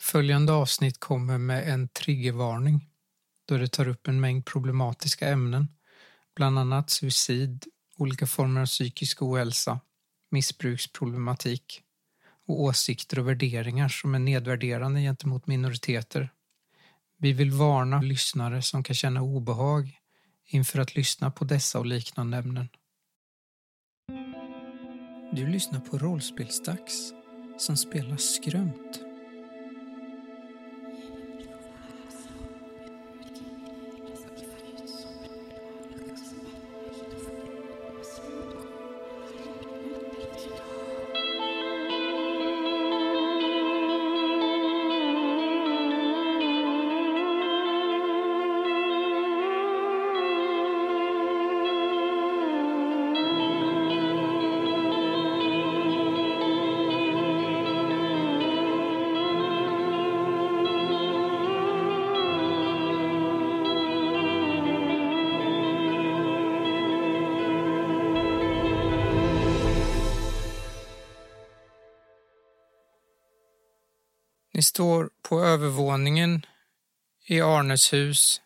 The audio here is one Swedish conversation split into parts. Följande avsnitt kommer med en triggervarning då det tar upp en mängd problematiska ämnen, bland annat suicid, olika former av psykisk ohälsa, missbruksproblematik och åsikter och värderingar som är nedvärderande gentemot minoriteter. Vi vill varna lyssnare som kan känna obehag inför att lyssna på dessa och liknande ämnen. Du lyssnar på Rollspelsdags som spelar skrömt. Ni står på övervåningen i Arnes hus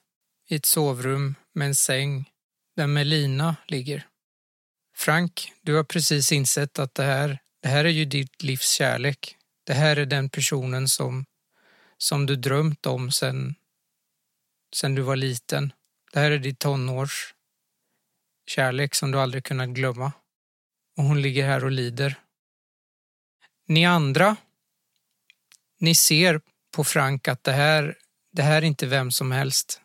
i ett sovrum med en säng där Melina ligger. Frank, du har precis insett att det här, det här är ju ditt livs kärlek. Det här är den personen som, som du drömt om sen, sen du var liten. Det här är ditt tonårs kärlek som du aldrig kunnat glömma. Och hon ligger här och lider. Ni andra ni ser på Frank att det här, det här är inte vem som helst.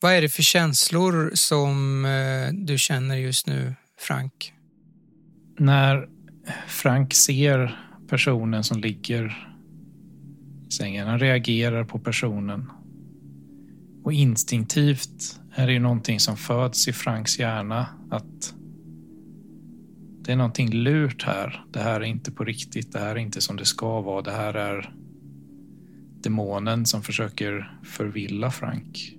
Vad är det för känslor som eh, du känner just nu, Frank? När Frank ser personen som ligger i sängen, han reagerar på personen. Och instinktivt är det ju någonting som föds i Franks hjärna att det är någonting lurt här. Det här är inte på riktigt. Det här är inte som det ska vara. Det här är demonen som försöker förvilla Frank.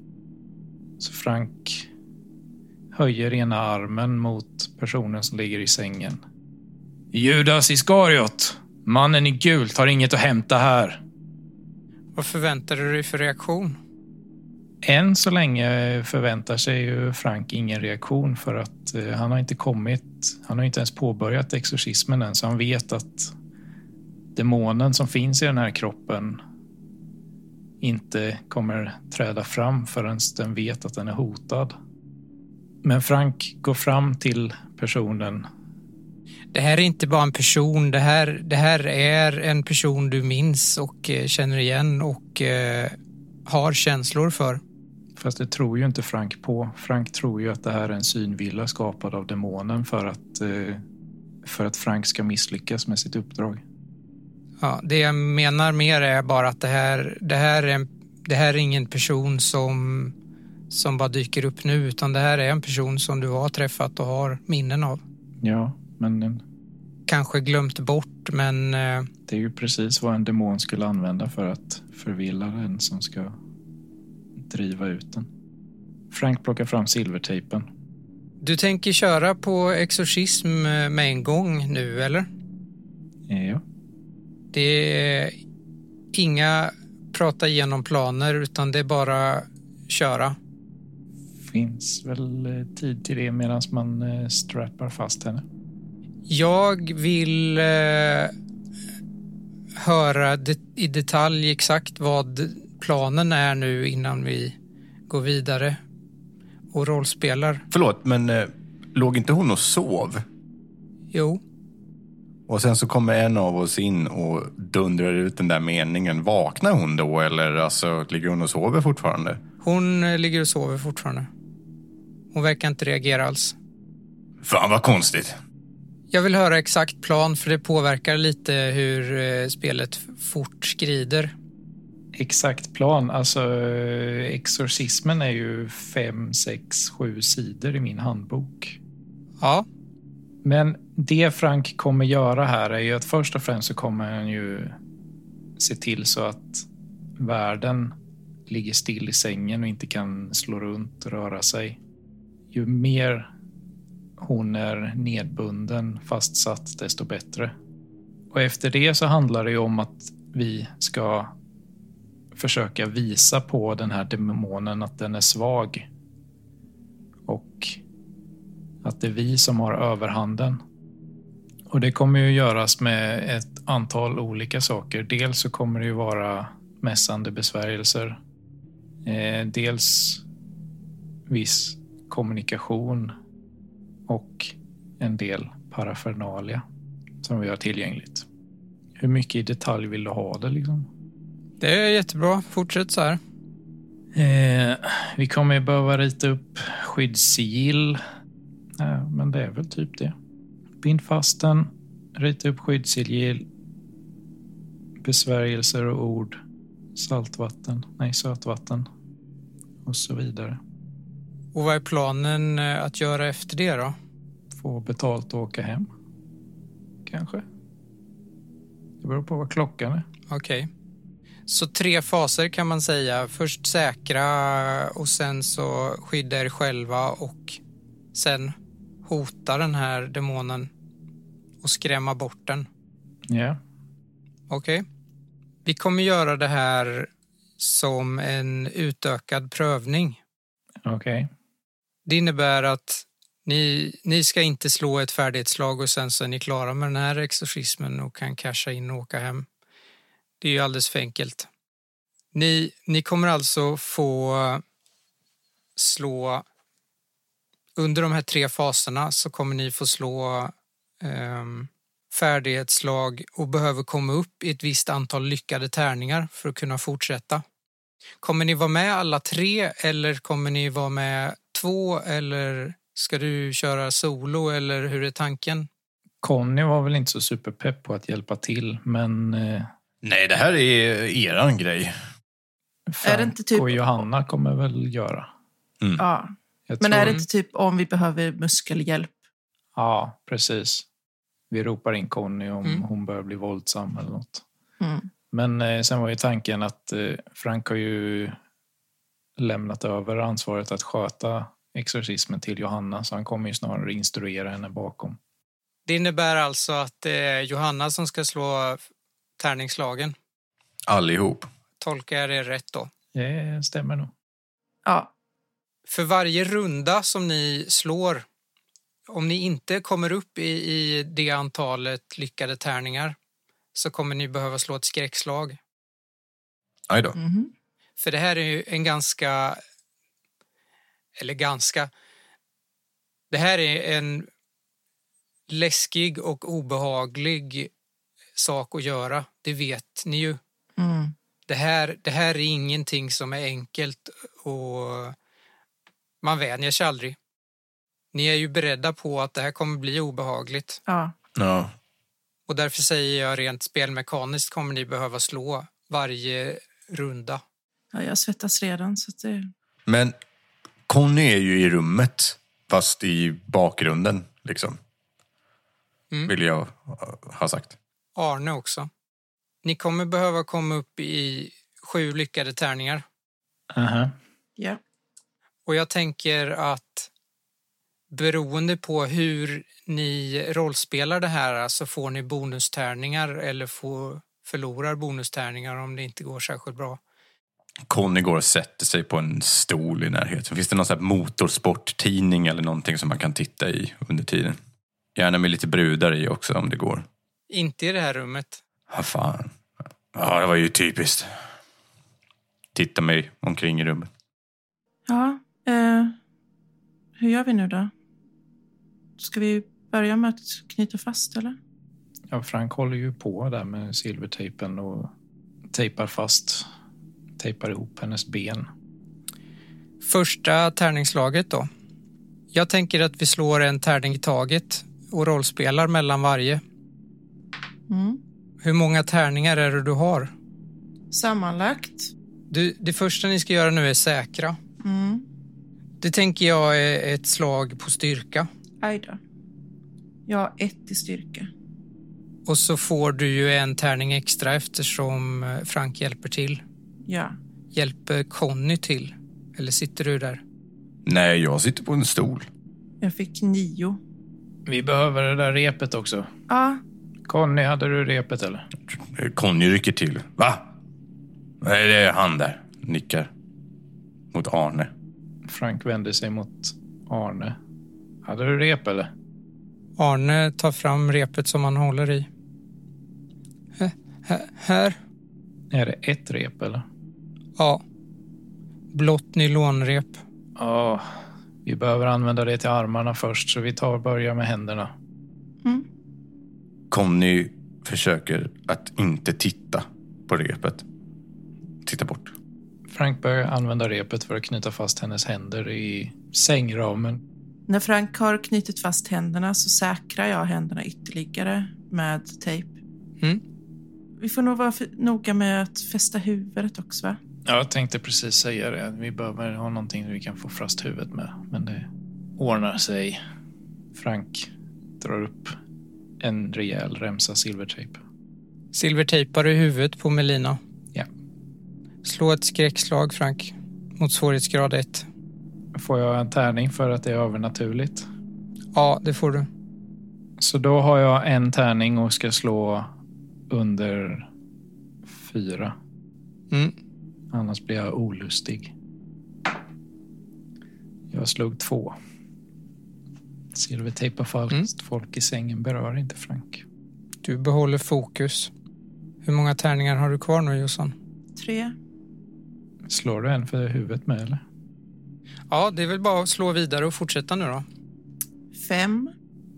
Så Frank höjer ena armen mot personen som ligger i sängen. Judas Iskariot! Mannen i gult har inget att hämta här. Vad förväntar du dig för reaktion? Än så länge förväntar sig ju Frank ingen reaktion för att eh, han har inte kommit. Han har inte ens påbörjat exorcismen än, så han vet att demonen som finns i den här kroppen inte kommer träda fram förrän den vet att den är hotad. Men Frank går fram till personen. Det här är inte bara en person. Det här, det här är en person du minns och eh, känner igen och eh, har känslor för. Fast det tror ju inte Frank på. Frank tror ju att det här är en synvilla skapad av demonen för att, eh, för att Frank ska misslyckas med sitt uppdrag. Ja, det jag menar mer är bara att det här, det här, är, en, det här är ingen person som, som bara dyker upp nu utan det här är en person som du har träffat och har minnen av. Ja, men eh, Kanske glömt bort men eh, det är ju precis vad en demon skulle använda för att förvilla den som ska driva ut den. Frank plockar fram silvertejpen. du tänker köra på exorcism eh, med en gång nu eller? Eh, Ja. Det är inga prata igenom planer utan det är bara köra. Finns väl eh, tid till det medan man eh, strappar fast henne. Jag vill eh, höra det, i detalj exakt vad planen är nu innan vi går vidare och rollspelar. Förlåt, men eh, låg inte hon och sov? Jo, Och sen så kommer en av oss in och dundrar ut den där meningen. Vaknar hon då eller alltså, ligger hon och sover fortfarande? hon eh, ligger och sover fortfarande. Hon verkar inte reagera alls. Fan vad konstigt. Jag vill höra exakt plan för det påverkar lite hur eh, spelet fortskrider. Exakt plan, alltså eh, exorcismen är ju fem, sex, sju sidor i min handbok. Ja, Men det Frank kommer göra här är ju att först och främst så kommer han ju se till så att världen ligger still i sängen och inte kan slå runt och röra sig. Ju mer hon är nedbunden, fastsatt, desto bättre. Och efter det så handlar det ju om att vi ska försöka visa på den här demonen att den är svag. Och att det är vi som har överhanden. Och det kommer ju göras med ett antal olika saker. Dels så kommer det ju vara mässande besvärjelser. Eh, dels viss kommunikation och en del parafernalia som vi har tillgängligt. Hur mycket i detalj vill du ha det? Liksom? Det är jättebra. Fortsätt så här. Eh, vi kommer ju behöva rita upp skyddssigill. Eh, men det är väl typ det. Bind fast den, rita upp skyddssigill, besvärjelser och ord, saltvatten, nej sötvatten och så vidare. Och vad är planen eh, att göra efter det då? Få betalt och åka hem. Kanske. Det beror på vad klockan är. Okej. Så tre faser kan man säga. Först säkra och sen så skydda er själva och sen hota den här demonen och skrämma bort den. Ja, Okej. Vi kommer göra det här som en utökad prövning. okej. Det innebär att ni, ni ska inte slå ett färdighetslag och sen så är ni klara med den här exorcismen och kan casha in och åka hem. Det är ju alldeles för enkelt. Ni, ni kommer alltså få slå... Under de här tre faserna så kommer ni få slå ehm, färdighetslag och behöver komma upp i ett visst antal lyckade tärningar för att kunna fortsätta. Kommer ni vara med alla tre eller kommer ni vara med två eller ska du köra solo eller hur är tanken? Conny var väl inte så superpepp på att hjälpa till, men eh, Nej, det här är eran grej. Frank inte typ- och Johanna kommer väl göra. Ja. Jag Men tror... är det inte typ om vi behöver muskelhjälp? Ja, precis. Vi ropar in Conny om Mm. hon börjar bli våldsam eller något. Mm. Men eh, sen var ju tanken att eh, Frank har ju lämnat över ansvaret att sköta exorcismen till Johanna, så han kommer ju snarare instruera henne bakom. Det innebär alltså att det är Johanna som ska slå tärningslagen. Allihop. Tolkar jag det rätt då? Det stämmer nog. Ja. För varje runda som ni slår, om ni inte kommer upp i, i det antalet lyckade tärningar så kommer ni behöva slå ett skräckslag. Aj då. Mhm. För det här är ju en ganska... Eller ganska... Det här är en läskig och obehaglig sak att göra. Det vet ni ju. Mm. Det här, det här är ingenting som är enkelt och man vänjer sig aldrig. Ni är ju beredda på att det här kommer bli obehagligt. Ja. Ja. Och därför säger jag rent spelmekaniskt kommer ni behöva slå varje runda. ja, jag svettas redan så att det... Men Conny är ju i rummet, fast i bakgrunden, liksom. Mm. Vill jag eh, ha sagt. Arne också. Ni kommer behöva komma upp i sju lyckade tärningar. Aha. Ja. Och jag tänker att beroende på hur ni rollspelar det här så får ni bonustärningar eller får, förlorar bonustärningar om det inte går särskilt bra. Conny går och sätter sig på en stol i närheten. Finns det någon sån här motorsporttidning eller någonting som man kan titta i under tiden? Gärna med lite brudar i också om det går. Inte i det här rummet. Ja, fan. Ja, det var ju typiskt. Titta mig omkring i rummet. Ja. Eh, hur gör vi nu då? Ska vi börja med att knyta fast eller? Ja, Frank håller ju på där med silvertejpen och tejpar fast, tejpar ihop hennes ben. Första tärningslaget då. Jag tänker att vi slår en tärning i taget och rollspelar mellan varje. Mm. Hur många tärningar är det du har? Sammanlagt. Du, det första ni ska göra nu är säkra. Mm. Det tänker jag är ett slag på styrka. Aj då. Jag har ett i styrka. Och så får du ju en tärning extra eftersom eh, Frank hjälper till. Ja. Hjälper Conny till? Eller sitter du där? Nej, jag sitter på en stol. Jag fick nio. Vi behöver det där repet också. Ja. Conny, hade du repet eller? Conny rycker till. Va? Nej, det är han där. Nickar. Mot Arne. Frank vänder sig mot Arne. Hade du rep eller? Arne tar fram repet som han håller i. Hä- hä- Här? Är det ett rep eller? Ja. Blått nylonrep. Ja, vi behöver använda det till armarna först så vi tar och börjar med händerna. Mm. Conny försöker att inte titta på repet. Titta bort. Frank börjar använda repet för att knyta fast hennes händer i sängramen. När Frank har knutit fast händerna så säkrar jag händerna ytterligare med tejp. Mm. Vi får nog vara för- noga med att fästa huvudet också, va? Ja, Jag tänkte precis säga det. Vi behöver ha någonting vi kan få fast huvudet med. Men det ordnar sig. Frank drar upp en rejäl remsa silvertejp. Silvertejpar i huvudet på Melina. Ja. Slå ett skräckslag, Frank. Mot svårighetsgrad 1. Får jag en tärning för att det är övernaturligt? Ja, det får du. Så då har jag en tärning och ska slå under fyra. Mm. Annars blir jag olustig. Jag slog två. Silvertejpa fast Mm. folk i sängen berör inte Frank. Du behåller fokus. Hur många tärningar har du kvar nu, Jossan? Tre. Slår du en för huvudet med eller? Ja, det är väl bara att slå vidare och fortsätta nu då. Fem.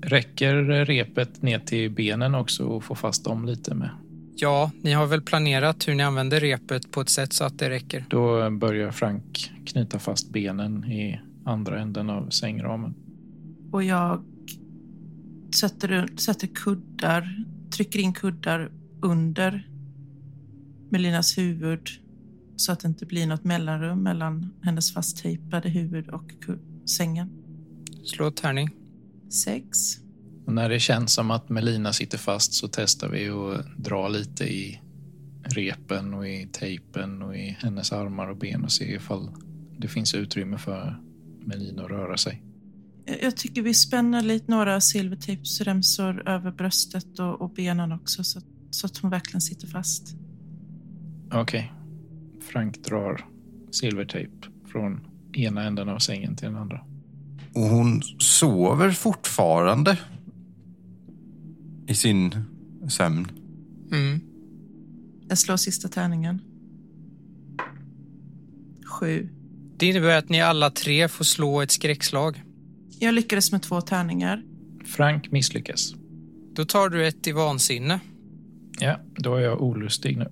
Räcker repet ner till benen också och få fast dem lite med? Ja, ni har väl planerat hur ni använder repet på ett sätt så att det räcker. Då börjar Frank knyta fast benen i andra änden av sängramen. Och jag sätter, sätter kuddar, trycker in kuddar under Melinas huvud så att det inte blir något mellanrum mellan hennes fasttejpade huvud och ku- sängen. Slå tärning. Sex. Och när det känns som att Melina sitter fast så testar vi att dra lite i repen och i tejpen och i hennes armar och ben och se ifall det finns utrymme för Melina att röra sig. Jag- Jag tycker vi spänner lite några silvertejpsremsor över bröstet och, och benen också så, att- så att hon verkligen sitter fast. Okej. Frank drar silvertejp från ena änden av sängen till den andra. Och hon sover fortfarande. I sin sömn. Mm. Jag slår sista tärningen. Sju. Det innebär att ni alla tre får slå ett skräckslag. Jag lyckades med två tärningar. Frank misslyckas. Då tar du ett i vansinne. Ja, då är jag olustig nu.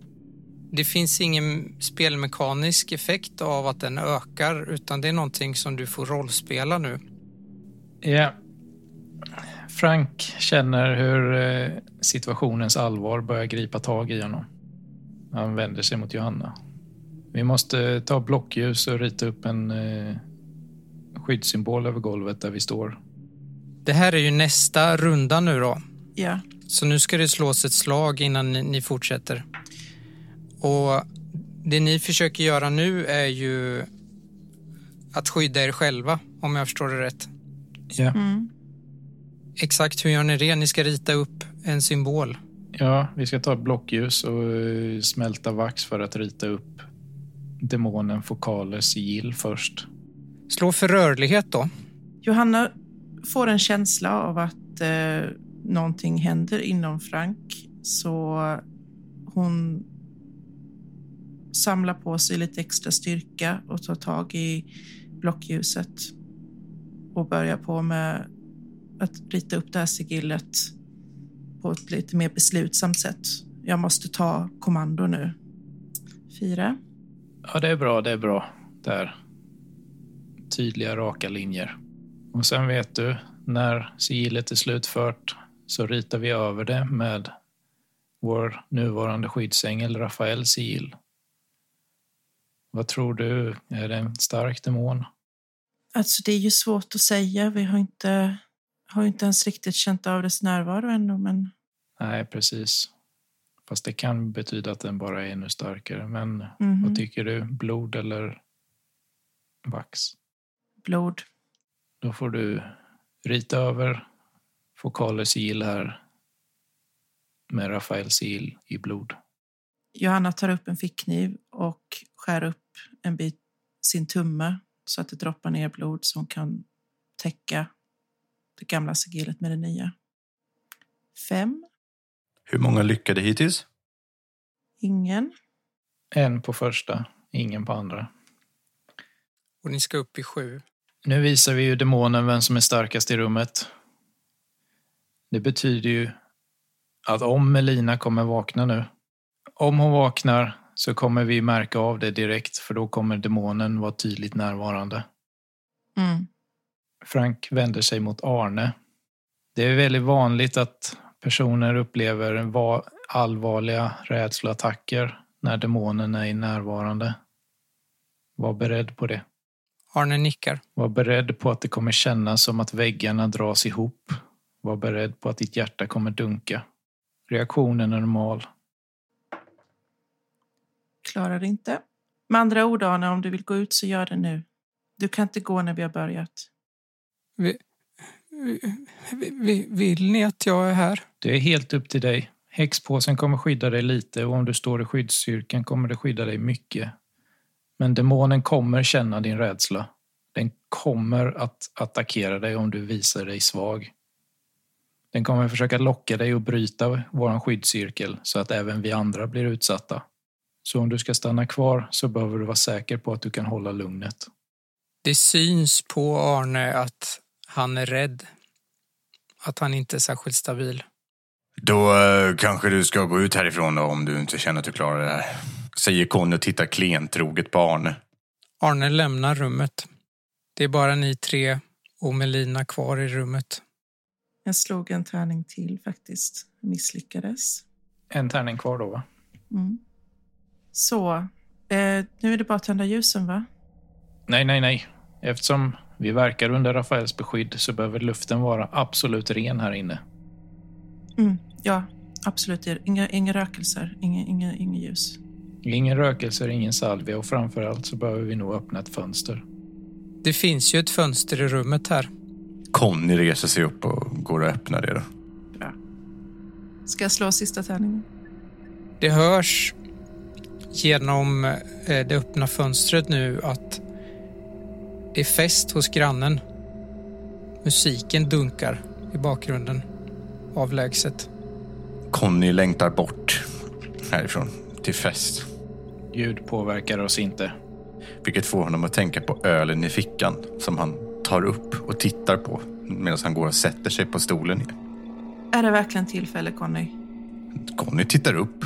Det finns ingen spelmekanisk effekt av att den ökar utan det är någonting som du får rollspela nu. Ja. Frank känner hur eh, situationens allvar börjar gripa tag i honom. Han vänder sig mot Johanna. Vi måste ta blockljus och rita upp en eh, skyddssymbol över golvet där vi står. Det här är ju nästa runda nu då. Ja. Så nu ska det slås ett slag innan ni, ni fortsätter. Och det ni försöker göra nu är ju att skydda er själva, om jag förstår det rätt. Ja. Mm. Exakt hur gör ni det? Ni ska rita upp en symbol. ja, vi ska ta blockljus och eh, smälta vax för att rita upp demonen Fokales sigill först. Slå för rörlighet då. Johanna får en känsla av att eh, någonting händer inom Frank. Så hon samlar på sig lite extra styrka och tar tag i blockljuset och börjar på med att rita upp det här sigillet på ett lite mer beslutsamt sätt. Jag måste ta kommando nu. Fyra. Ja, det är bra, det är bra. Där. Tydliga, raka linjer. Och sen vet du, när sigillet är slutfört så ritar vi över det med vår nuvarande skyddsängel Rafaels sigill. Vad tror du? Är det en stark demon? Alltså det är ju svårt att säga. Vi har inte, har ju inte ens riktigt känt av dess närvaro ännu. Men Nej, precis. Fast det kan betyda att den bara är ännu starkare. Men mhm. vad tycker du? Blod eller vax? blod. Då får du rita över Fokales sigill här med Rafaels sigill i blod. Johanna tar upp en fickkniv och skär upp en bit sin tumme så att det droppar ner blod som kan täcka det gamla sigillet med det nya. Fem. Hur många lyckade hittills? Ingen. En på första, ingen på andra. Och ni ska upp i sju. Nu visar vi ju demonen vem som är starkast i rummet. Det betyder ju att om Melina kommer vakna nu, om hon vaknar så kommer vi märka av det direkt för då kommer demonen vara tydligt närvarande. Mm. Frank vänder sig mot Arne. Det är väldigt vanligt att personer upplever va- allvarliga rädsloattacker när demonen är närvarande. Var beredd på det. Arne nickar. Var beredd på att det kommer kännas som att väggarna dras ihop. Var beredd på att ditt hjärta kommer dunka. Reaktionen är normal. Klarar det inte. Med andra ord, Arne, om du vill gå ut så gör det nu. Du kan inte gå när vi har börjat. Vi- vi- Vill ni att jag är här? Det är helt upp till dig. Häxpåsen kommer skydda dig lite och om du står i skyddscirkeln kommer det skydda dig mycket. Men demonen kommer känna din rädsla. Den kommer att attackera dig om du visar dig svag. Den kommer försöka locka dig att bryta vår skyddscirkel så att även vi andra blir utsatta. Så om du ska stanna kvar så behöver du vara säker på att du kan hålla lugnet. Det syns på Arne att han är rädd. Att han inte är särskilt stabil. Då eh, kanske du ska gå ut härifrån då, om du inte känner att du klarar det här. Säger Conny och tittar klentroget på Arne. Arne lämnar rummet. Det är bara ni tre och Melina kvar i rummet. Jag slog en tärning till faktiskt. Misslyckades. En tärning kvar då va? Mm. Så, eh, nu är det bara att tända ljusen va? Nej, nej, nej. Eftersom vi verkar under Rafaels beskydd så behöver luften vara absolut ren här inne. Mm, ja, absolut. Inga, inga rökelser, inga, inga, inga ljus. Ingen rökelse, ingen salvia och framförallt så behöver vi nog öppna ett fönster. Det finns ju ett fönster i rummet här. Conny reser sig upp och går och öppnar det då. Bra. Ska jag slå sista tärningen? Det hörs genom eh, det öppna fönstret nu att det är fest hos grannen. Musiken dunkar i bakgrunden, avlägset. Conny längtar bort härifrån till fest. Ljud påverkar oss inte. Vilket får honom att tänka på ölen i fickan som han tar upp och tittar på medan han går och sätter sig på stolen. igen. Är det verkligen tillfälle, Conny? Conny tittar upp.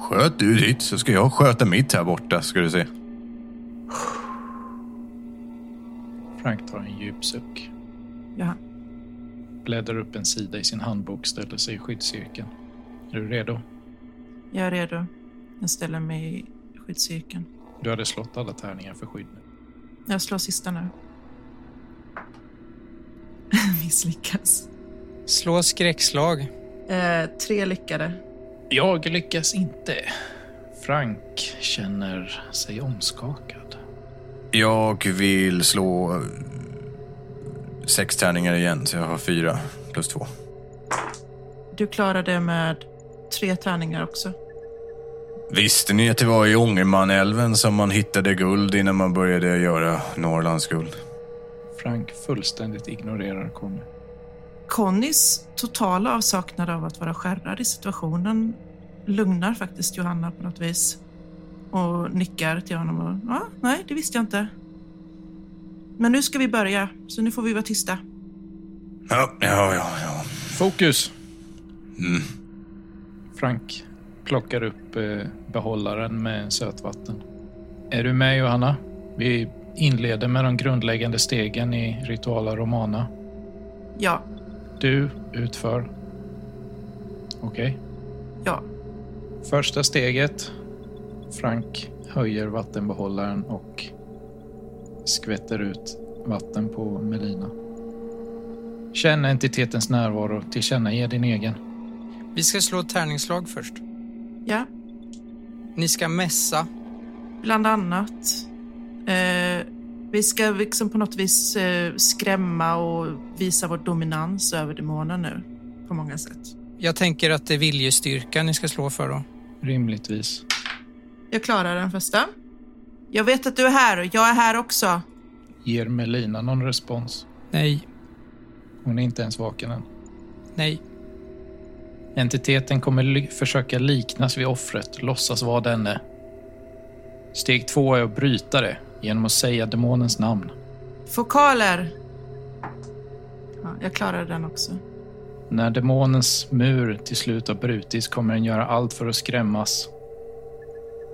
Sköt du ditt så ska jag sköta mitt här borta ska du se. Frank tar en djup suck, Ja. bläddrar upp en sida i sin handbok, ställer sig i skyddscirkeln. Är du redo? Jag är redo. Jag ställer mig i skyddscirkeln. Du hade slått alla tärningar för skydd nu. Jag slår sista nu. Misslyckas. Slå skräckslag. Eh, tre lyckade. Jag lyckas inte. Frank känner sig omskakad. Jag vill slå eh, sex tärningar igen så jag har fyra plus två. Du klarade med tre tärningar också. Visste ni att det var i Ångermanälven som man hittade guld innan man började göra Norrlands guld? Frank fullständigt ignorerar Conny. Connys totala avsaknad av att vara skärrad i situationen lugnar faktiskt Johanna på något vis. Och nickar till honom och ja, nej, det visste jag inte. Men nu ska vi börja, så nu får vi vara tysta. Ja, ja, ja. ja. Fokus! Mm. Frank plockar upp eh, behållaren med sötvatten. Är du med Johanna? Vi inleder med de grundläggande stegen i Rituala Romana. Ja, Du utför. Okej. ja, Första steget. Frank höjer vattenbehållaren och skvätter ut vatten på Melina. Känn entitetens närvaro, tillkännage din egen. Vi ska slå tärningsslag först. ja. Ni ska mässa. Bland annat. Eh, vi ska liksom på något vis eh, skrämma och visa vår dominans över demonen nu. På många sätt. Jag tänker att det är viljestyrka ni ska slå för då. Rimligtvis. Jag klarar den första. Jag vet att du är här och jag är här också. Ger Melina någon respons? Nej, Hon är inte ens vaken än. nej, Entiteten kommer ly- försöka liknas vid offret och låtsas vara denne. Steg två är att bryta det genom att säga demonens namn. Fokaler! Ja, jag klarar den också. När demonens mur till slut har brutits kommer den göra allt för att skrämmas.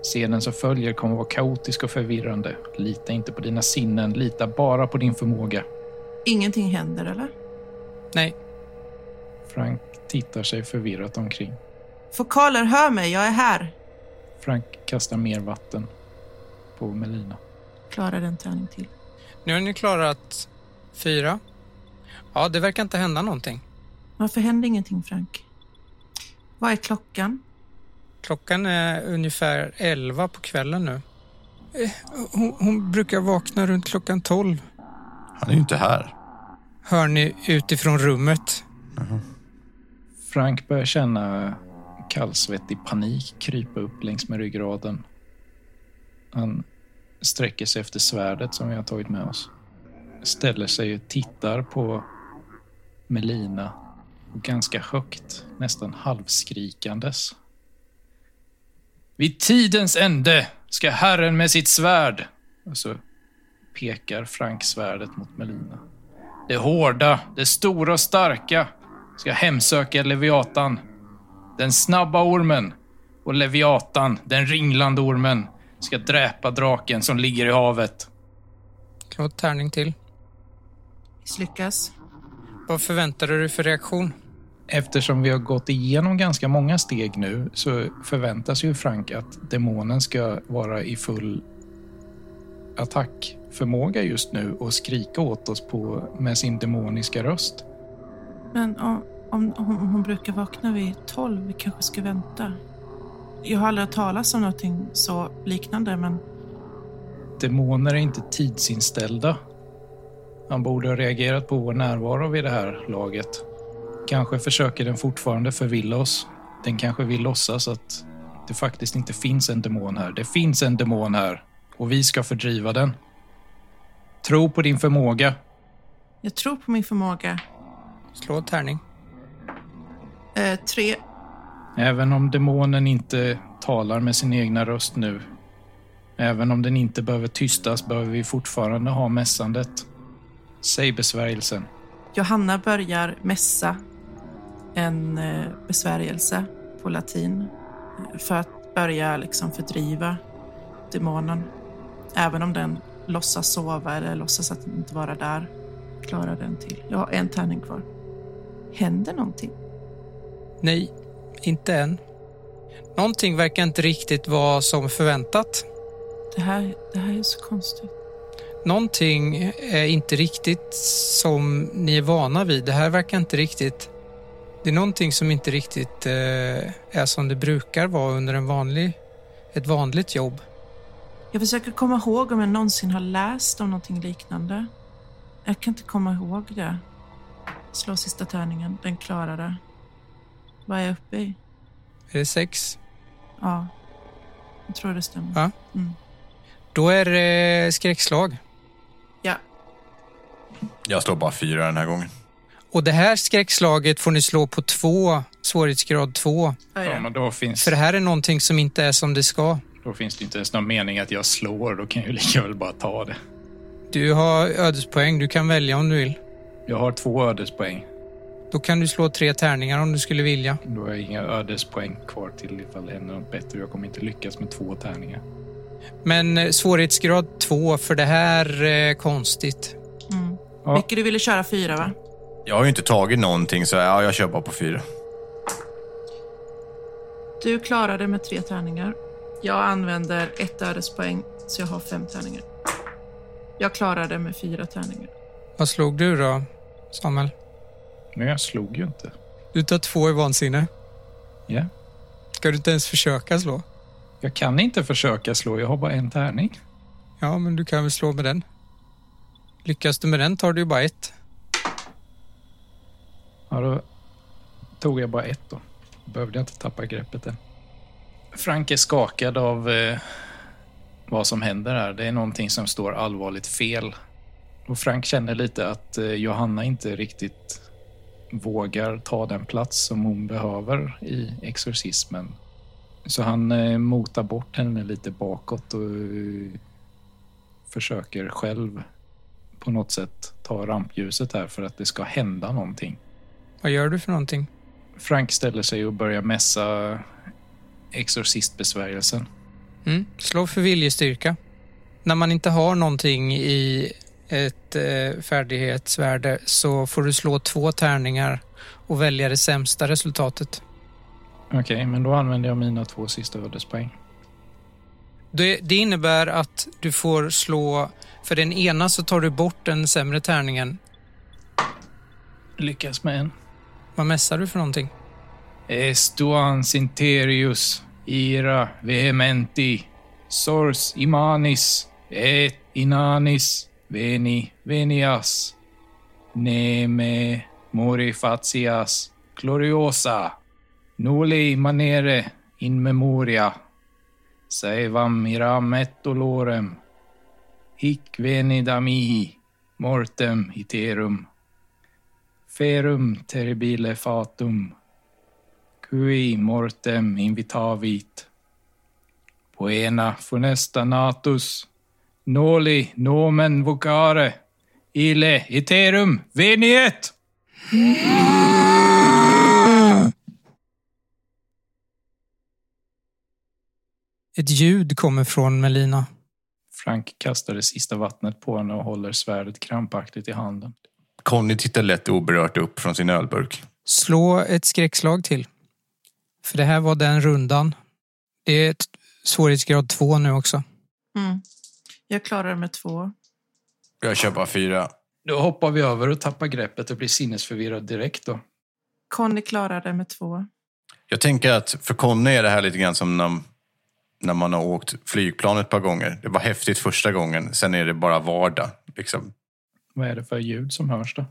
Scenen som följer kommer vara kaotisk och förvirrande. Lita inte på dina sinnen, lita bara på din förmåga. Ingenting händer, eller? nej. Frank tittar sig förvirrat omkring. Fokaler, hör mig, jag är här. Frank kastar mer vatten på Melina. Klarar den tärning till. Nu har ni klarat fyra. Ja, det verkar inte hända någonting. Varför händer ingenting, Frank? Vad är klockan? Klockan är ungefär elva på kvällen nu. Eh, Hon, hon brukar vakna runt klockan tolv. Han är ju inte här. Hör ni utifrån rummet? Frank börjar känna kallsvettig panik krypa upp längs med ryggraden. Han sträcker sig efter svärdet som vi har tagit med oss. Ställer sig och tittar på Melina och ganska högt, nästan halvskrikandes. Vid tidens ände ska Herren med sitt svärd... Och så pekar Frank svärdet mot Melina. Det hårda, det stora och starka ska hemsöka Leviatan. Den snabba ormen och Leviatan, den ringlande ormen, ska dräpa draken som ligger i havet. Slå ett tärning till. Misslyckas. Vad förväntar du dig för reaktion? Eftersom vi har gått igenom ganska många steg nu så förväntas ju Frank att demonen ska vara i full attackförmåga just nu och skrika åt oss på, med sin demoniska röst. Men om, om, om hon brukar vakna vid tolv, vi kanske ska vänta. Jag har aldrig hört talas om någonting så liknande, men Demoner är inte tidsinställda. Han borde ha reagerat på vår närvaro vid det här laget. Kanske försöker den fortfarande förvilla oss. Den kanske vill låtsas att det faktiskt inte finns en demon här. Det finns en demon här och vi ska fördriva den. Tro på din förmåga. jag tror på min förmåga. Slå ett tärning. Eh, tre. Även om demonen inte talar med sin egna röst nu. Även om den inte behöver tystas behöver vi fortfarande ha mässandet. Säg besvärjelsen. Johanna börjar mässa en eh, besvärjelse på latin eh, för att börja liksom fördriva demonen. Även om den låtsas sova eller låtsas att den inte vara där. Klarar den till. Jag har en tärning kvar. Händer någonting? Nej, inte än. Någonting verkar inte riktigt vara som förväntat. Det här, det här är så konstigt. Någonting är inte riktigt som ni är vana vid. Det här verkar inte riktigt... Det är någonting som inte riktigt eh, är som det brukar vara under en vanlig, ett vanligt jobb. Jag försöker komma ihåg om jag någonsin har läst om någonting liknande. Jag kan inte komma ihåg det. Slå sista tärningen. Den klarar det. Vad är jag uppe i? Är det sex? Ja. Jag tror det stämmer. Ja. Mm. Då är det eh, skräckslag. Ja. Jag slår bara fyra den här gången. Och det här skräckslaget får ni slå på två, svårighetsgrad två. Ja, Ja, men då finns, För det här är någonting som inte är som det ska. då finns det inte ens någon mening att jag slår. Då kan jag ju lika väl bara ta det. Du har ödespoäng, du kan välja om du vill. Jag har två ödespoäng. Då kan du slå tre tärningar om du skulle vilja. Då har jag inga ödespoäng kvar till ifall det händer något bättre. Jag kommer inte lyckas med två tärningar. Men eh, svårighetsgrad två, för det här är konstigt. Mm. Ja. Micke, du ville köra fyra, va? Jag har ju inte tagit någonting så ja, jag kör bara på fyra. Du klarade med tre tärningar. Jag använder ett ödespoäng, så jag har fem tärningar. Jag klarade med fyra tärningar. Vad slog du då, Samuel? Men jag slog ju inte. Du tar två i vansinne. Ja. Ska du inte ens försöka slå? Jag kan inte försöka slå. Jag har bara en tärning. Ja, men du kan väl slå med den. Lyckas du med den tar du ju bara ett. Ja, då tog jag bara ett då. Behövde jag inte tappa greppet än. Frank är skakad av eh, vad som händer här. Det är någonting som står allvarligt fel. Och Frank känner lite att eh, Johanna inte riktigt vågar ta den plats som hon behöver i exorcismen. Så han eh, motar bort henne lite bakåt och eh, försöker själv på något sätt ta rampljuset här för att det ska hända någonting. Vad gör du för någonting? Frank ställer sig och börjar mässa exorcistbesvärjelsen. Mm. Slå för viljestyrka. När man inte har någonting i ett eh, färdighetsvärde så får du slå två tärningar och välja det sämsta resultatet. Okej, men då använder jag mina två sista ödespoäng. Det, det innebär att du får slå... För den ena så tar du bort den sämre tärningen. Lyckas med en. Vad mässar du för någonting? Estuan sinterius ira vehementi sors imanis et inanis veni venias neme mori facias gloriosa noli manere in memoria saevam miram et dolorem hic veni damihi mortem iterum ferum terribile fatum Cui mortem invitavit. Poena funesta natus. Noli nomen vocare. Ile iterum veniet! Ett ljud kommer från Melina. Frank kastar det sista vattnet på henne och håller svärdet krampaktigt i handen. Conny tittar lätt oberört upp från sin ölburk. Slå ett skräckslag till. För det här var den rundan. Det är ett svårighetsgrad två nu också. Mm. Jag klarar med två. Jag kör bara fyra. Då hoppar vi över och tappar greppet och blir sinnesförvirrad direkt då. Conny klarade med två. Jag tänker att för Conny är det här lite grann som när, när man har åkt flygplan ett par gånger. Det var häftigt första gången, sen är det bara vardag. Liksom. Vad är det för ljud som hörs då?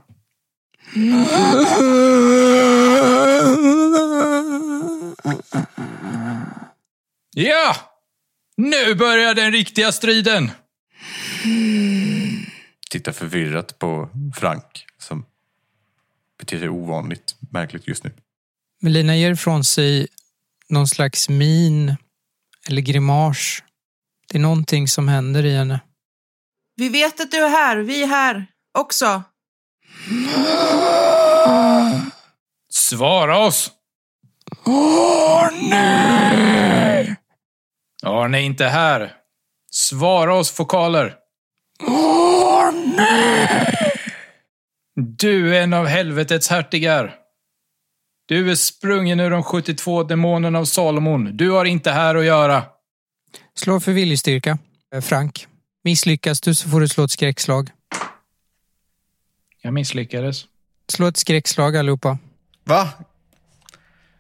Ja! Nu börjar den riktiga striden! Tittar förvirrat på Frank som beter sig ovanligt märkligt just nu. Melina ger ifrån sig någon slags min eller grimas. Det är någonting som händer i henne. Vi vet att du är här. Vi är här också. Svara oss! Arne! Arne är inte här. Svara oss, fokaler! Arne! Du är en av helvetets hertigar. Du är sprungen ur de 72 demonerna av Salomon. Du har inte här att göra. Slå för viljestyrka, eh, Frank. Misslyckas du så får du slå ett skräckslag. Jag misslyckades. Slå ett skräckslag allihopa. Va?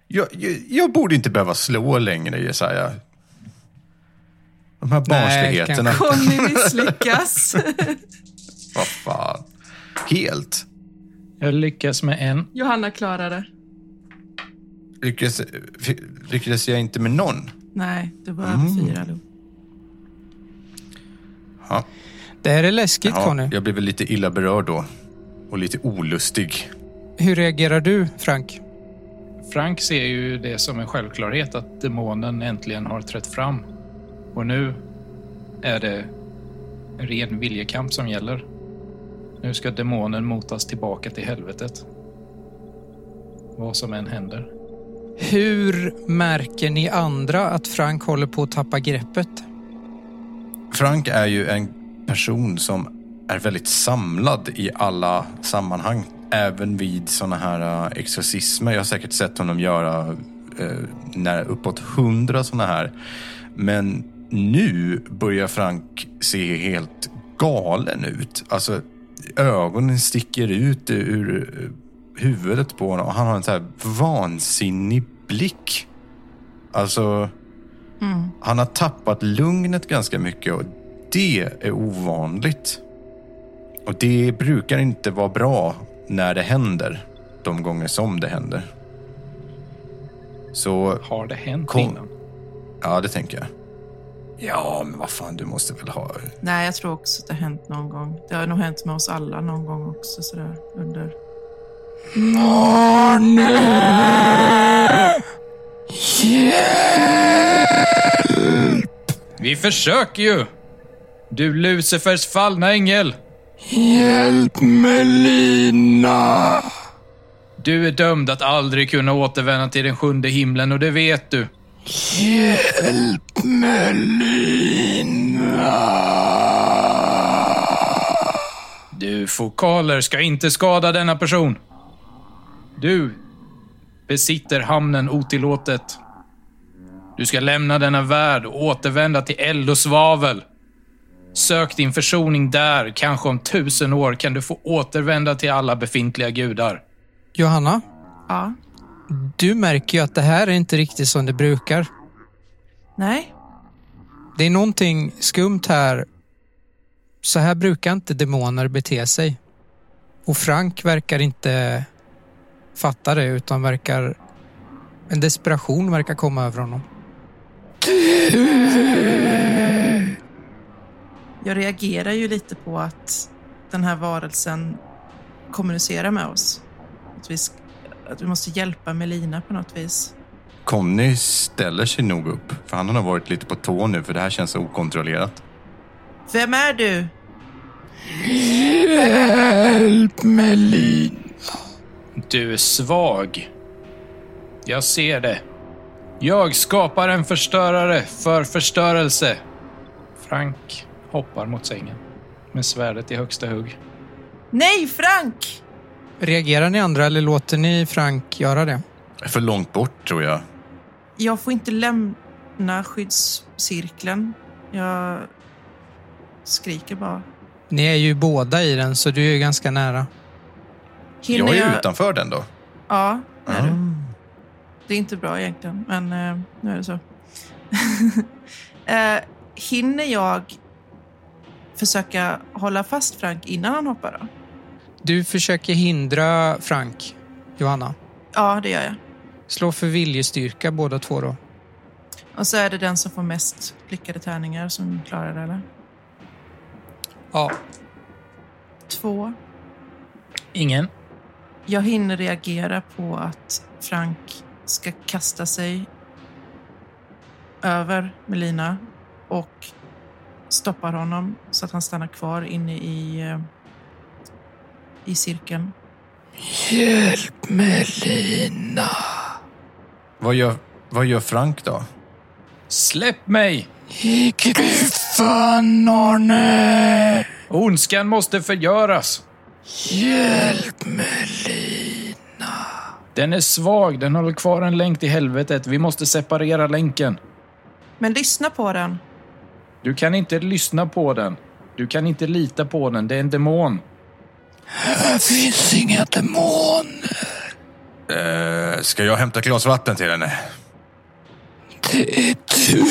Jag, jag, jag borde inte behöva slå längre, Jesaja. De här barnsligheterna. kanske. Conny misslyckas. Vad fan. Helt. Jag lyckas med en. Johanna klarade. Lyckades, lyckades jag inte med någon? Nej, det var Mm. fyra. då. Ja. Det här är läskigt, Ja, Conny. jag blev väl lite illa berörd då. Och lite olustig. Hur reagerar du, Frank? Frank ser ju det som en självklarhet att demonen äntligen har trätt fram. Och nu är det en ren viljekamp som gäller. Nu ska demonen motas tillbaka till helvetet. Vad som än händer. Hur märker ni andra att Frank håller på att tappa greppet? Frank är ju en person som är väldigt samlad i alla sammanhang. Även vid såna här eh, exorcismer. Jag har säkert sett honom göra eh, när uppåt hundra såna här. Men nu börjar Frank se helt galen ut. Alltså, ögonen sticker ut ur eh, huvudet på honom. Och Han har en så här vansinnig blick. Alltså... Han har tappat lugnet ganska mycket och det är ovanligt. Och det brukar inte vara bra när det händer, de gånger som det händer. Så Har det hänt Kom. innan? Ja, det tänker jag. Ja, men vad fan, du måste väl ha... Nej, jag tror också att det har hänt någon gång. Det har nog hänt med oss alla någon gång också sådär under... Vi försöker ju! Du Lucifers fallna ängel! Hjälp Melina! Du är dömd att aldrig kunna återvända till den sjunde himlen och det vet du. Hjälp Melina! Du fokaler ska inte skada denna person. Du besitter hamnen otillåtet. Du ska lämna denna värld och återvända till eld och svavel. Sök din försoning där. Kanske om tusen år kan du få återvända till alla befintliga gudar. Johanna, Ja. du märker ju att det här är inte riktigt som det brukar. Nej. Det är någonting skumt här. Så här brukar inte demoner bete sig. Och Frank verkar inte fatta det utan verkar... En desperation verkar komma över honom. Jag reagerar ju lite på att den här varelsen kommunicerar med oss. Att vi, sk- att vi måste hjälpa Melina på något vis. Conny ställer sig nog upp, för han har varit lite på tå nu, för det här känns okontrollerat. Vem är du? Hjälp Melina! Du är svag. Jag ser det. Jag skapar en förstörare för förstörelse. Frank hoppar mot sängen med svärdet i högsta hugg. Nej, Frank! Reagerar ni andra eller låter ni Frank göra det? För långt bort, tror jag. Jag får inte lämna skyddscirkeln. Jag skriker bara. Ni är ju båda i den så du är ju ganska nära. jag är utanför den då. Ja, det är du. Ah. Det är inte bra egentligen, men eh, nu är det så. eh, hinner jag försöka hålla fast Frank innan han hoppar? Då? Du försöker hindra Frank, Johanna. Ja, det gör jag. Slå för viljestyrka båda två då. Och så är det den som får mest lyckade tärningar som klarar det, eller? Ja, Två. Ingen. Jag hinner reagera på att Frank ska kasta sig över Melina och stoppar honom så att han stannar kvar inne i, eh, i cirkeln. Hjälp Melina! Vad gör, vad gör Frank då? Släpp mig! I kryffan Arne! Ondskan måste förgöras. Hjälp Melina! Den är svag. Den håller kvar en länk till helvetet. Vi måste separera länken. Men lyssna på den. Du kan inte lyssna på den. Du kan inte lita på den. Det är en demon. Här finns inga demoner. Eh, ska jag hämta glas vatten till henne? Det är du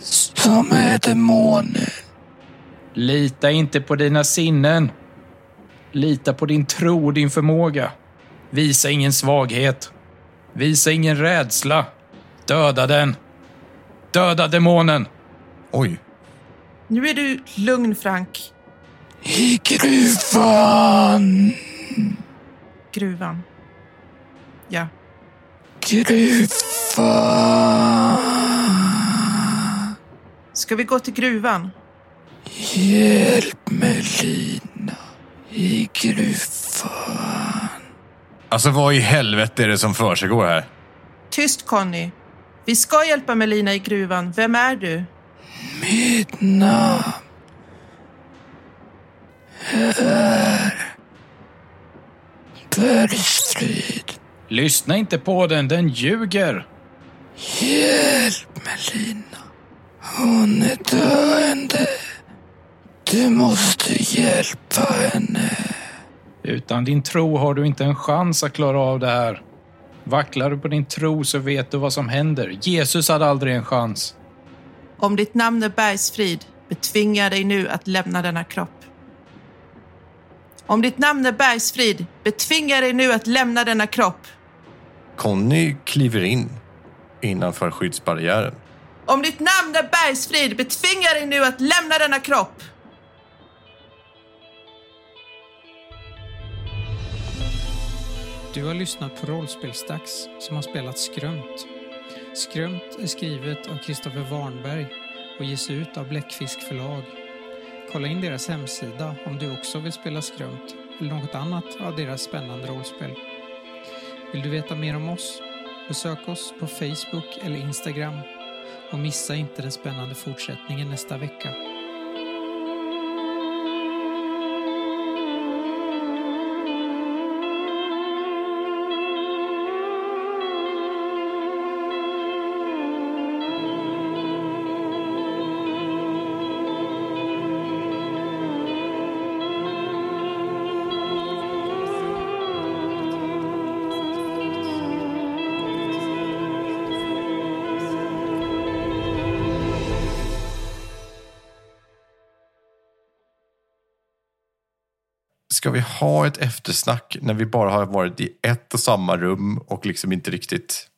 som är demoner. Lita inte på dina sinnen. Lita på din tro och din förmåga. Visa ingen svaghet. Visa ingen rädsla. Döda den. Döda demonen. Oj. Nu är du lugn, Frank. I gruvan. Gruvan. Ja. Gruvan. Ska vi gå till gruvan? Hjälp Melina. I gruvan. Alltså vad i helvete är det som försiggår här? Tyst, Conny. Vi ska hjälpa Melina i gruvan. Vem är du? Mitt namn är Bergstrid. Lyssna inte på den. Den ljuger. Hjälp Melina. Hon är döende. Du måste hjälpa henne. Utan din tro har du inte en chans att klara av det här. Vacklar du på din tro så vet du vad som händer. Jesus hade aldrig en chans. Om ditt namn är Bergsfrid betvingar jag dig nu att lämna denna kropp. Om ditt namn är Bergsfrid betvingar jag dig nu att lämna denna kropp. Conny kliver in innanför skyddsbarriären. Om ditt namn är Bergsfrid betvingar dig nu att lämna denna kropp. Du har lyssnat på Rollspelsdags som har spelat Skrömt. Skrömt är skrivet av Kristoffer Warnberg och ges ut av Bläckfisk förlag. Kolla in deras hemsida om du också vill spela Skrömt eller något annat av deras spännande rollspel. Vill du veta mer om oss? Besök oss på Facebook eller Instagram och missa inte den spännande fortsättningen nästa vecka. Ska vi ha ett eftersnack när vi bara har varit i ett och samma rum och liksom inte riktigt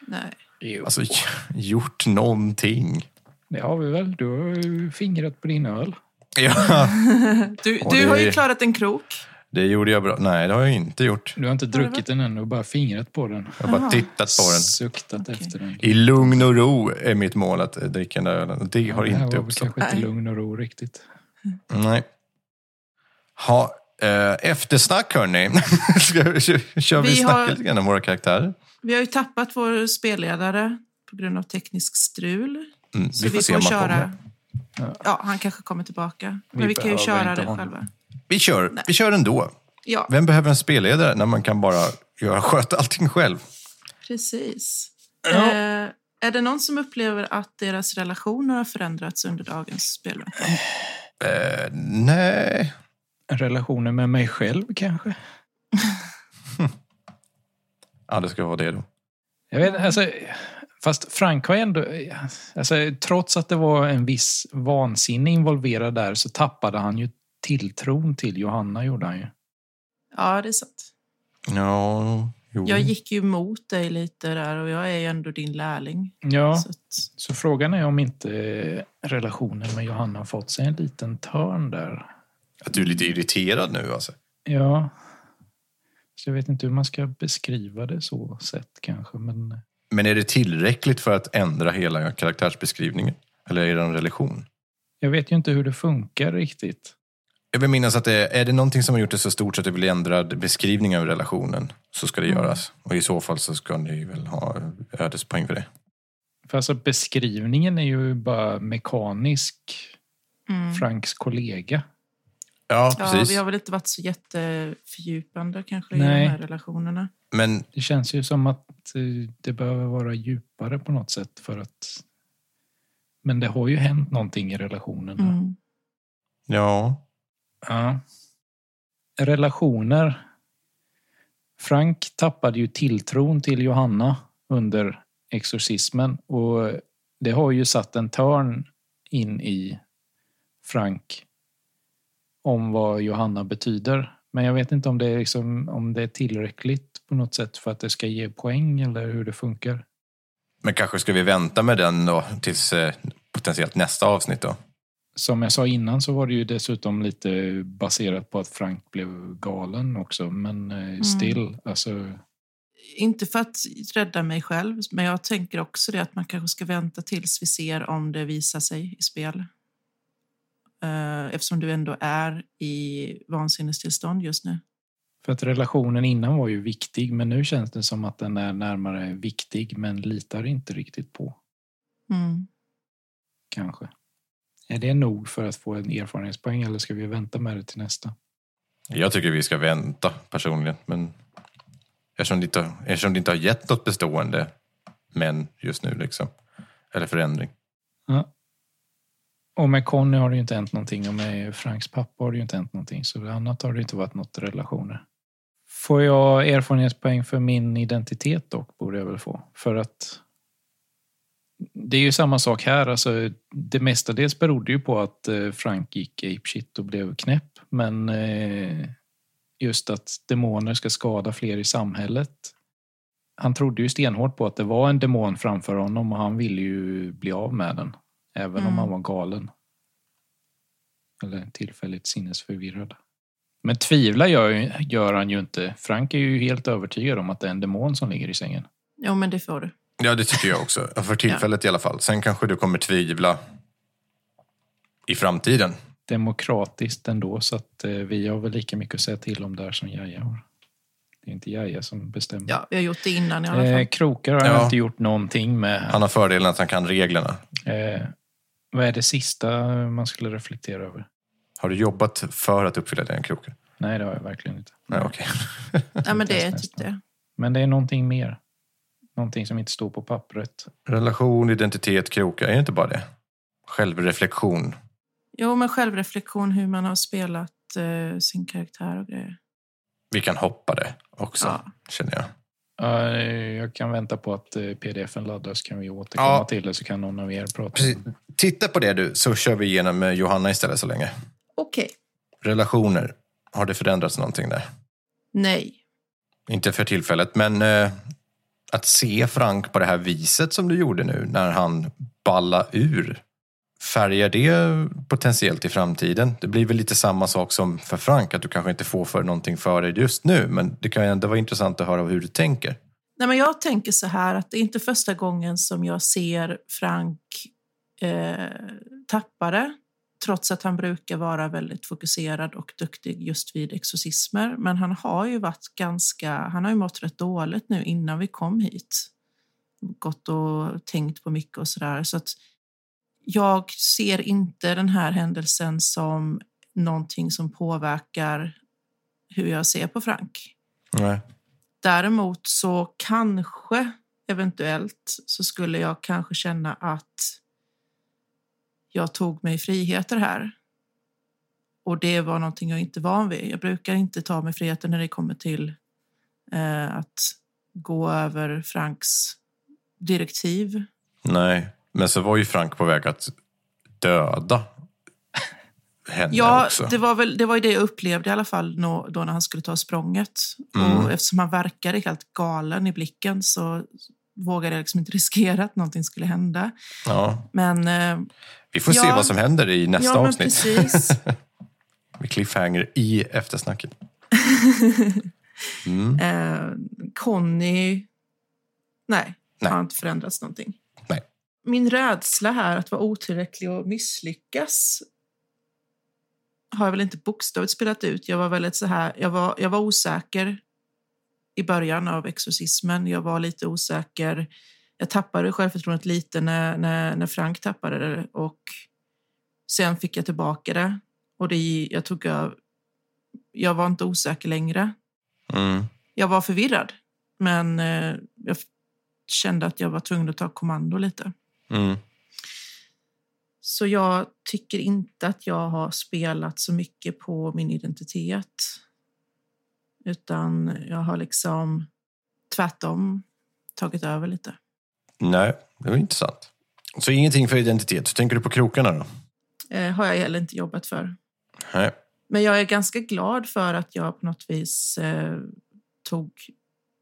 Nej. alltså, gjort någonting? Det har vi väl. Du har ju fingrat på din öl. Ja, Du, Och du det- har ju klarat en krok. det gjorde jag bra. Nej, det har jag inte gjort. Du har inte druckit den än, du har bara fingrat på den. Jag har bara Aha. tittat på den. Suktat efter den. I lugn och ro är mitt mål att eh, dricka den där ölen. Det har det här inte var väl uppstått. kanske inte Nej. lugn och ro riktigt. Nej. Ha, eh, eftersnack hörni. Ska vi- Kör vi, Vi vi har- snacket lite grann om våra karaktärer? Vi har ju tappat vår spelledare på grund av teknisk strul. Mm, Så vi får, köra... Ja. Ja, han kanske kommer tillbaka. Vi Men vi kan ju behöver köra inte det honom. själva. Vi kör, vi kör ändå. Ja, Vem behöver en spelledare när man kan bara göra, sköta allting själv? precis. Eh, är det någon som upplever att deras relationer har förändrats under dagens spelvärld? Eh, nej. Relationen med mig själv kanske? Ja, det ska vara det då. Jag vet alltså, Fast Frank var ändå... Alltså, trots att det var en viss vansinne involverad där så tappade han ju tilltron till Johanna, gjorde han ju. Ja, det är sant. Ja, jo. Jag Mm. gick ju emot dig lite där och jag är ju ändå din lärling. Ja, Så att, så frågan är om inte relationen med Johanna har fått sig en liten törn där. Att du är lite irriterad nu alltså. Ja. Så jag vet inte hur man ska beskriva det så sett kanske, men... Men är det tillräckligt för att ändra hela karaktärsbeskrivningen? Eller är det en relation? Jag vet ju inte hur det funkar riktigt. Jag vill minnas att det, är det någonting som har gjort det så stort så att det blir ändrad beskrivning av relationen så ska det Mm. göras. Och i så fall så ska ni väl ha ödespoäng för det. För alltså beskrivningen är ju bara mekanisk. mm. Franks kollega. Ja, Ja, precis. vi har väl inte varit så jättefördjupande kanske i Nej. de här relationerna. Men Det känns ju som att eh, det behöver vara djupare på något sätt för att... Men det har ju hänt någonting i relationerna. Mm. ja, Ja. Relationer. Frank tappade ju tilltron till Johanna under exorcismen och det har ju satt en törn in i Frank om vad Johanna betyder. Men jag vet inte om det är, liksom, om det är tillräckligt på något sätt för att det ska ge poäng eller hur det funkar. men kanske ska vi vänta med den då tills eh, potentiellt nästa avsnitt då. Som jag sa innan så var det ju dessutom lite baserat på att Frank blev galen också. Men eh, still, alltså Inte för att rädda mig själv, men jag tänker också det att man kanske ska vänta tills vi ser om det visar sig i spel. Eh, Eftersom du ändå är i vansinnestillstånd just nu. För att relationen innan var ju viktig, men nu känns det som att den är närmare viktig, men litar inte riktigt på, Mm. kanske. Är det nog för att få en erfarenhetspoäng eller ska vi vänta med det till nästa? Jag tycker vi ska vänta personligen, men eftersom det inte, eftersom det inte har gett något bestående men just nu liksom. Eller förändring. Och med Conny har det ju inte hänt någonting och med Franks pappa har det ju inte hänt någonting, så det annat har det inte varit något relationer. Får jag erfarenhetspoäng för min identitet dock, borde jag väl få. För att det är ju samma sak här. Alltså, det mestadels berodde ju på att eh, Frank gick apeshit och blev knäpp. Men eh, just att demoner ska skada fler i samhället han trodde ju stenhårt på att det var en demon framför honom och han ville ju bli av med den. Även om Mm. han var galen. Eller tillfälligt sinnesförvirrad. Men tvivla gör, ju- gör han ju inte. Frank är ju helt övertygad om att det är en demon som ligger i sängen. Jo, men det får du. Ja, det tycker jag också. För tillfället i alla fall. Sen kanske du kommer tvivla i framtiden. Demokratiskt ändå, så att eh, vi har väl lika mycket att säga till om där som Jaja har. Det är inte Jaja som bestämmer. Ja, vi har gjort det innan i alla fall. Eh, krokar har jag Ja. inte gjort någonting med. här. Han har fördelen att han kan reglerna. Eh, vad är det sista man skulle reflektera över? Har du jobbat för att uppfylla den kroken? Nej, det har jag verkligen inte. Nej, okej. Nej, men det är Nästan. typ det. Men det är någonting mer. Någonting som inte står på pappret. Relation, identitet, krokar. Är det inte bara det? Självreflektion. Jo, men självreflektion, hur man har spelat eh, sin karaktär och grejer. Vi kan hoppa det också, Ja. känner jag. Eh, jag kan vänta på att eh, pdf-en laddas kan vi återkomma Ja. till det så kan någon av er prata. Precis. Titta på det du, så kör vi igenom eh, Johanna istället så länge. Okej. Relationer. Har det förändrats någonting där? Nej. Inte för tillfället, men eh, att se Frank på det här viset som du gjorde nu när han balla ur. Färgar det potentiellt i framtiden? Det blir väl lite samma sak som för Frank, att du kanske inte får för någonting för dig just nu, men det kan ju ändå vara intressant att höra hur du tänker. Nej, men jag tänker så här att det är inte första gången som jag ser Frank eh, tappa det. Trots att han brukar vara väldigt fokuserad och duktig just vid exorcismer. Men han har ju varit ganska, han har ju mått rätt dåligt nu innan vi kom hit. Gått och tänkt på mycket och sådär. Så att jag ser inte den här händelsen som någonting som påverkar hur jag ser på Frank. Nej. Däremot så kanske, eventuellt, så skulle jag kanske känna att jag tog mig friheter här. Och det var någonting jag inte är van vid. Jag brukar inte ta mig friheter när det kommer till eh, att gå över Franks direktiv. Nej, men så var ju Frank på väg att döda henne Ja, också. det var, väl, det var ju det jag upplevde i alla fall nå- då när han skulle ta språnget. Mm. Och eftersom han verkade helt galen i blicken så vågade jag liksom inte riskera att någonting skulle hända. Ja, Men eh, vi får se Ja. vad som händer i nästa ja, men avsnitt. precis. Med cliffhanger i eftersnacket. Mm. eh, Conny... Nej, Nej. har inte förändrats någonting. Nej. Min rädsla här att vara otillräcklig och misslyckas har jag väl inte bokstavligt spelat ut. Jag var väldigt så här, jag var, jag var osäker i början av exorcismen. Jag var lite osäker. Jag tappade självförtroendet lite när, när, när Frank tappade det och sen fick jag tillbaka det. Och det, jag tog över. Jag var inte osäker längre. Mm. Jag var förvirrad, men eh, jag f- kände att jag var tvungen att ta kommando lite. Mm. Så jag tycker inte att jag har spelat så mycket på min identitet. Utan jag har liksom tvärtom tagit över lite. Nej, det var intressant. Så ingenting för identitet. Så tänker du på krokarna då? Eh, har jag heller inte jobbat för. Nej. Men jag är ganska glad för att jag på något vis eh, tog,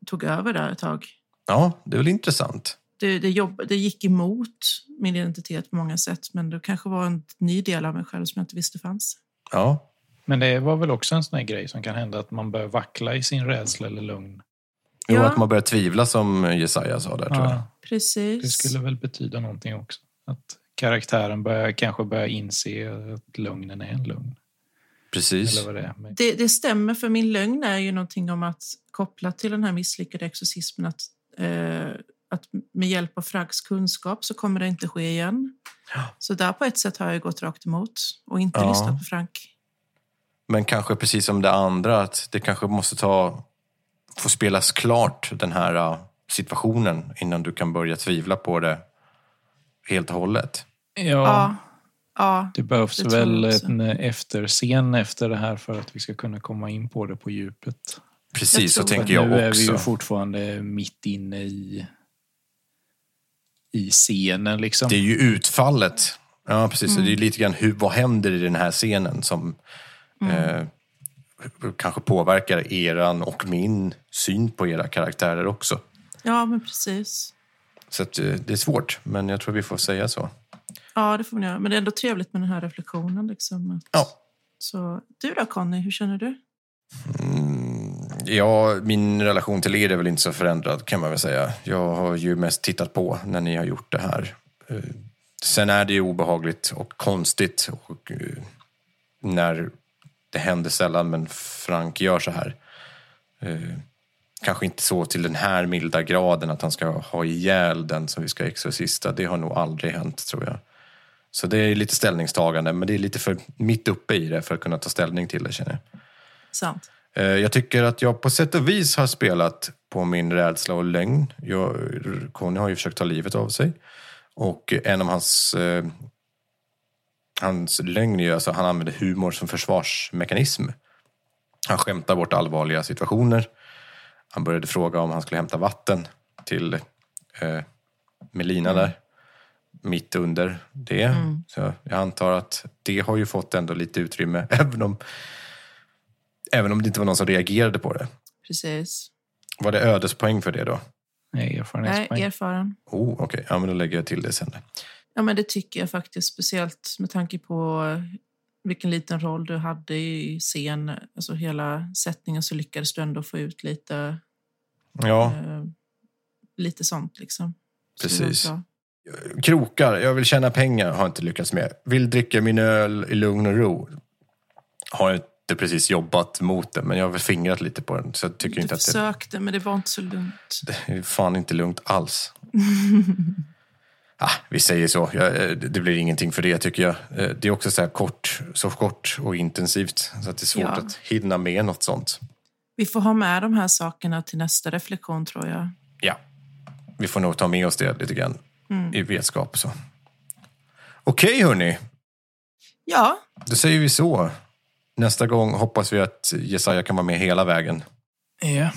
tog över där ett tag. Ja, det är väl intressant. det, det, jobb, det gick emot min identitet på många sätt men det kanske var en ny del av mig själv som jag inte visste fanns. Ja, Men det var väl också en sån här grej som kan hända att man börjar vackla i sin rädsla eller lugn. jo, Ja. att man börjar tvivla som Jesaja sa där tror jag. Ja, Precis. det skulle väl betyda någonting också. Att karaktären börjar, kanske börjar inse att lögnen är en lögn. Precis. Eller vad det är. Men- det, det stämmer, för min lögn är ju någonting om att koppla till den här misslyckade exorcismen att, eh, att med hjälp av Franks kunskap så kommer det inte ske igen. Så där på ett sätt har jag ju gått rakt emot och inte Ja. lyssnat på Frank. Men kanske precis som det andra, att det kanske måste ta, få spelas klart den här uh, situationen innan du kan börja tvivla på det helt och hållet. ja, Ja. ja. Det behövs Det tror jag väl också. en eh, efterscen efter det här för att vi ska kunna komma in på det på djupet. Precis, så Jag tror tänker nu jag är vi ju också. fortfarande mitt inne i, i scenen liksom. Det är ju utfallet. Ja, precis. Så Det är Mm. ju lite grann hur, vad händer i den här scenen som Mm. eh, kanske påverkar eran och min syn på era karaktärer också. Ja, men precis. Så att, eh, det är svårt, men jag tror vi får säga så. Ja, det får man göra. Men det är ändå trevligt med den här reflektionen. Liksom, att... Ja. Så du då, Conny? Hur känner du? Ja, min relation till er är väl inte så förändrad kan man väl säga. Jag har ju mest tittat på när ni har gjort det här. Eh, Sen är det ju obehagligt och konstigt och eh, när det händer sällan men Frank gör så här. Eh, Kanske inte så till den här milda graden att han ska ha ihjäl den som vi ska exorcista. Det har nog aldrig hänt tror jag. Så det är lite ställningstagande men det är lite för mitt uppe i det för att kunna ta ställning till det känner jag. Sant. Eh, Jag tycker att jag på sätt och vis har spelat på min rädsla och lögn. Jag, Conny har ju försökt ta livet av sig. Och en av hans, eh, hans lögn är ju alltså, han använder humor som försvarsmekanism. Han skämtar bort allvarliga situationer. Han började fråga om han skulle hämta vatten till eh, Melina där. Mitt under det. Så jag antar att det har ju fått ändå lite utrymme. Även om Även om det inte var någon som reagerade på det. Precis. Var det ödespoäng för det då? Nej, Nej, erfarenhetspoäng. erfaren. Oh, okej. Ja, men då lägger jag till det sen. Ja, men det tycker jag faktiskt. Speciellt med tanke på vilken liten roll du hade i scen. Alltså hela sättningen så lyckades du ändå få ut lite, Ja, eh, lite sånt. liksom. Så det var precis. bra. Krokar. Jag vill tjäna pengar. Har jag inte lyckats med. Vill dricka min öl i lugn och ro. Har jag inte precis jobbat mot det, men jag har väl fingrat lite på den. Så jag tycker Du inte att det, försökte, men det var inte så lugnt. det är fan inte lugnt alls. Ah, vi säger så. Jag, eh, det blir ingenting för det tycker jag. Eh, Det är också så här kort, så kort och intensivt. Så att det är svårt Ja. att hinna med något sånt. Vi får ha med de här sakerna till nästa reflektion, tror jag. Ja, vi får nog ta med oss det lite grann Mm. i vetskap. Så. Okej, hörni. Ja, Då säger vi så. Nästa gång hoppas vi att Jesaja kan vara med hela vägen. Ja,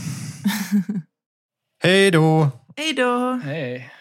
Hej då! hej då! hej.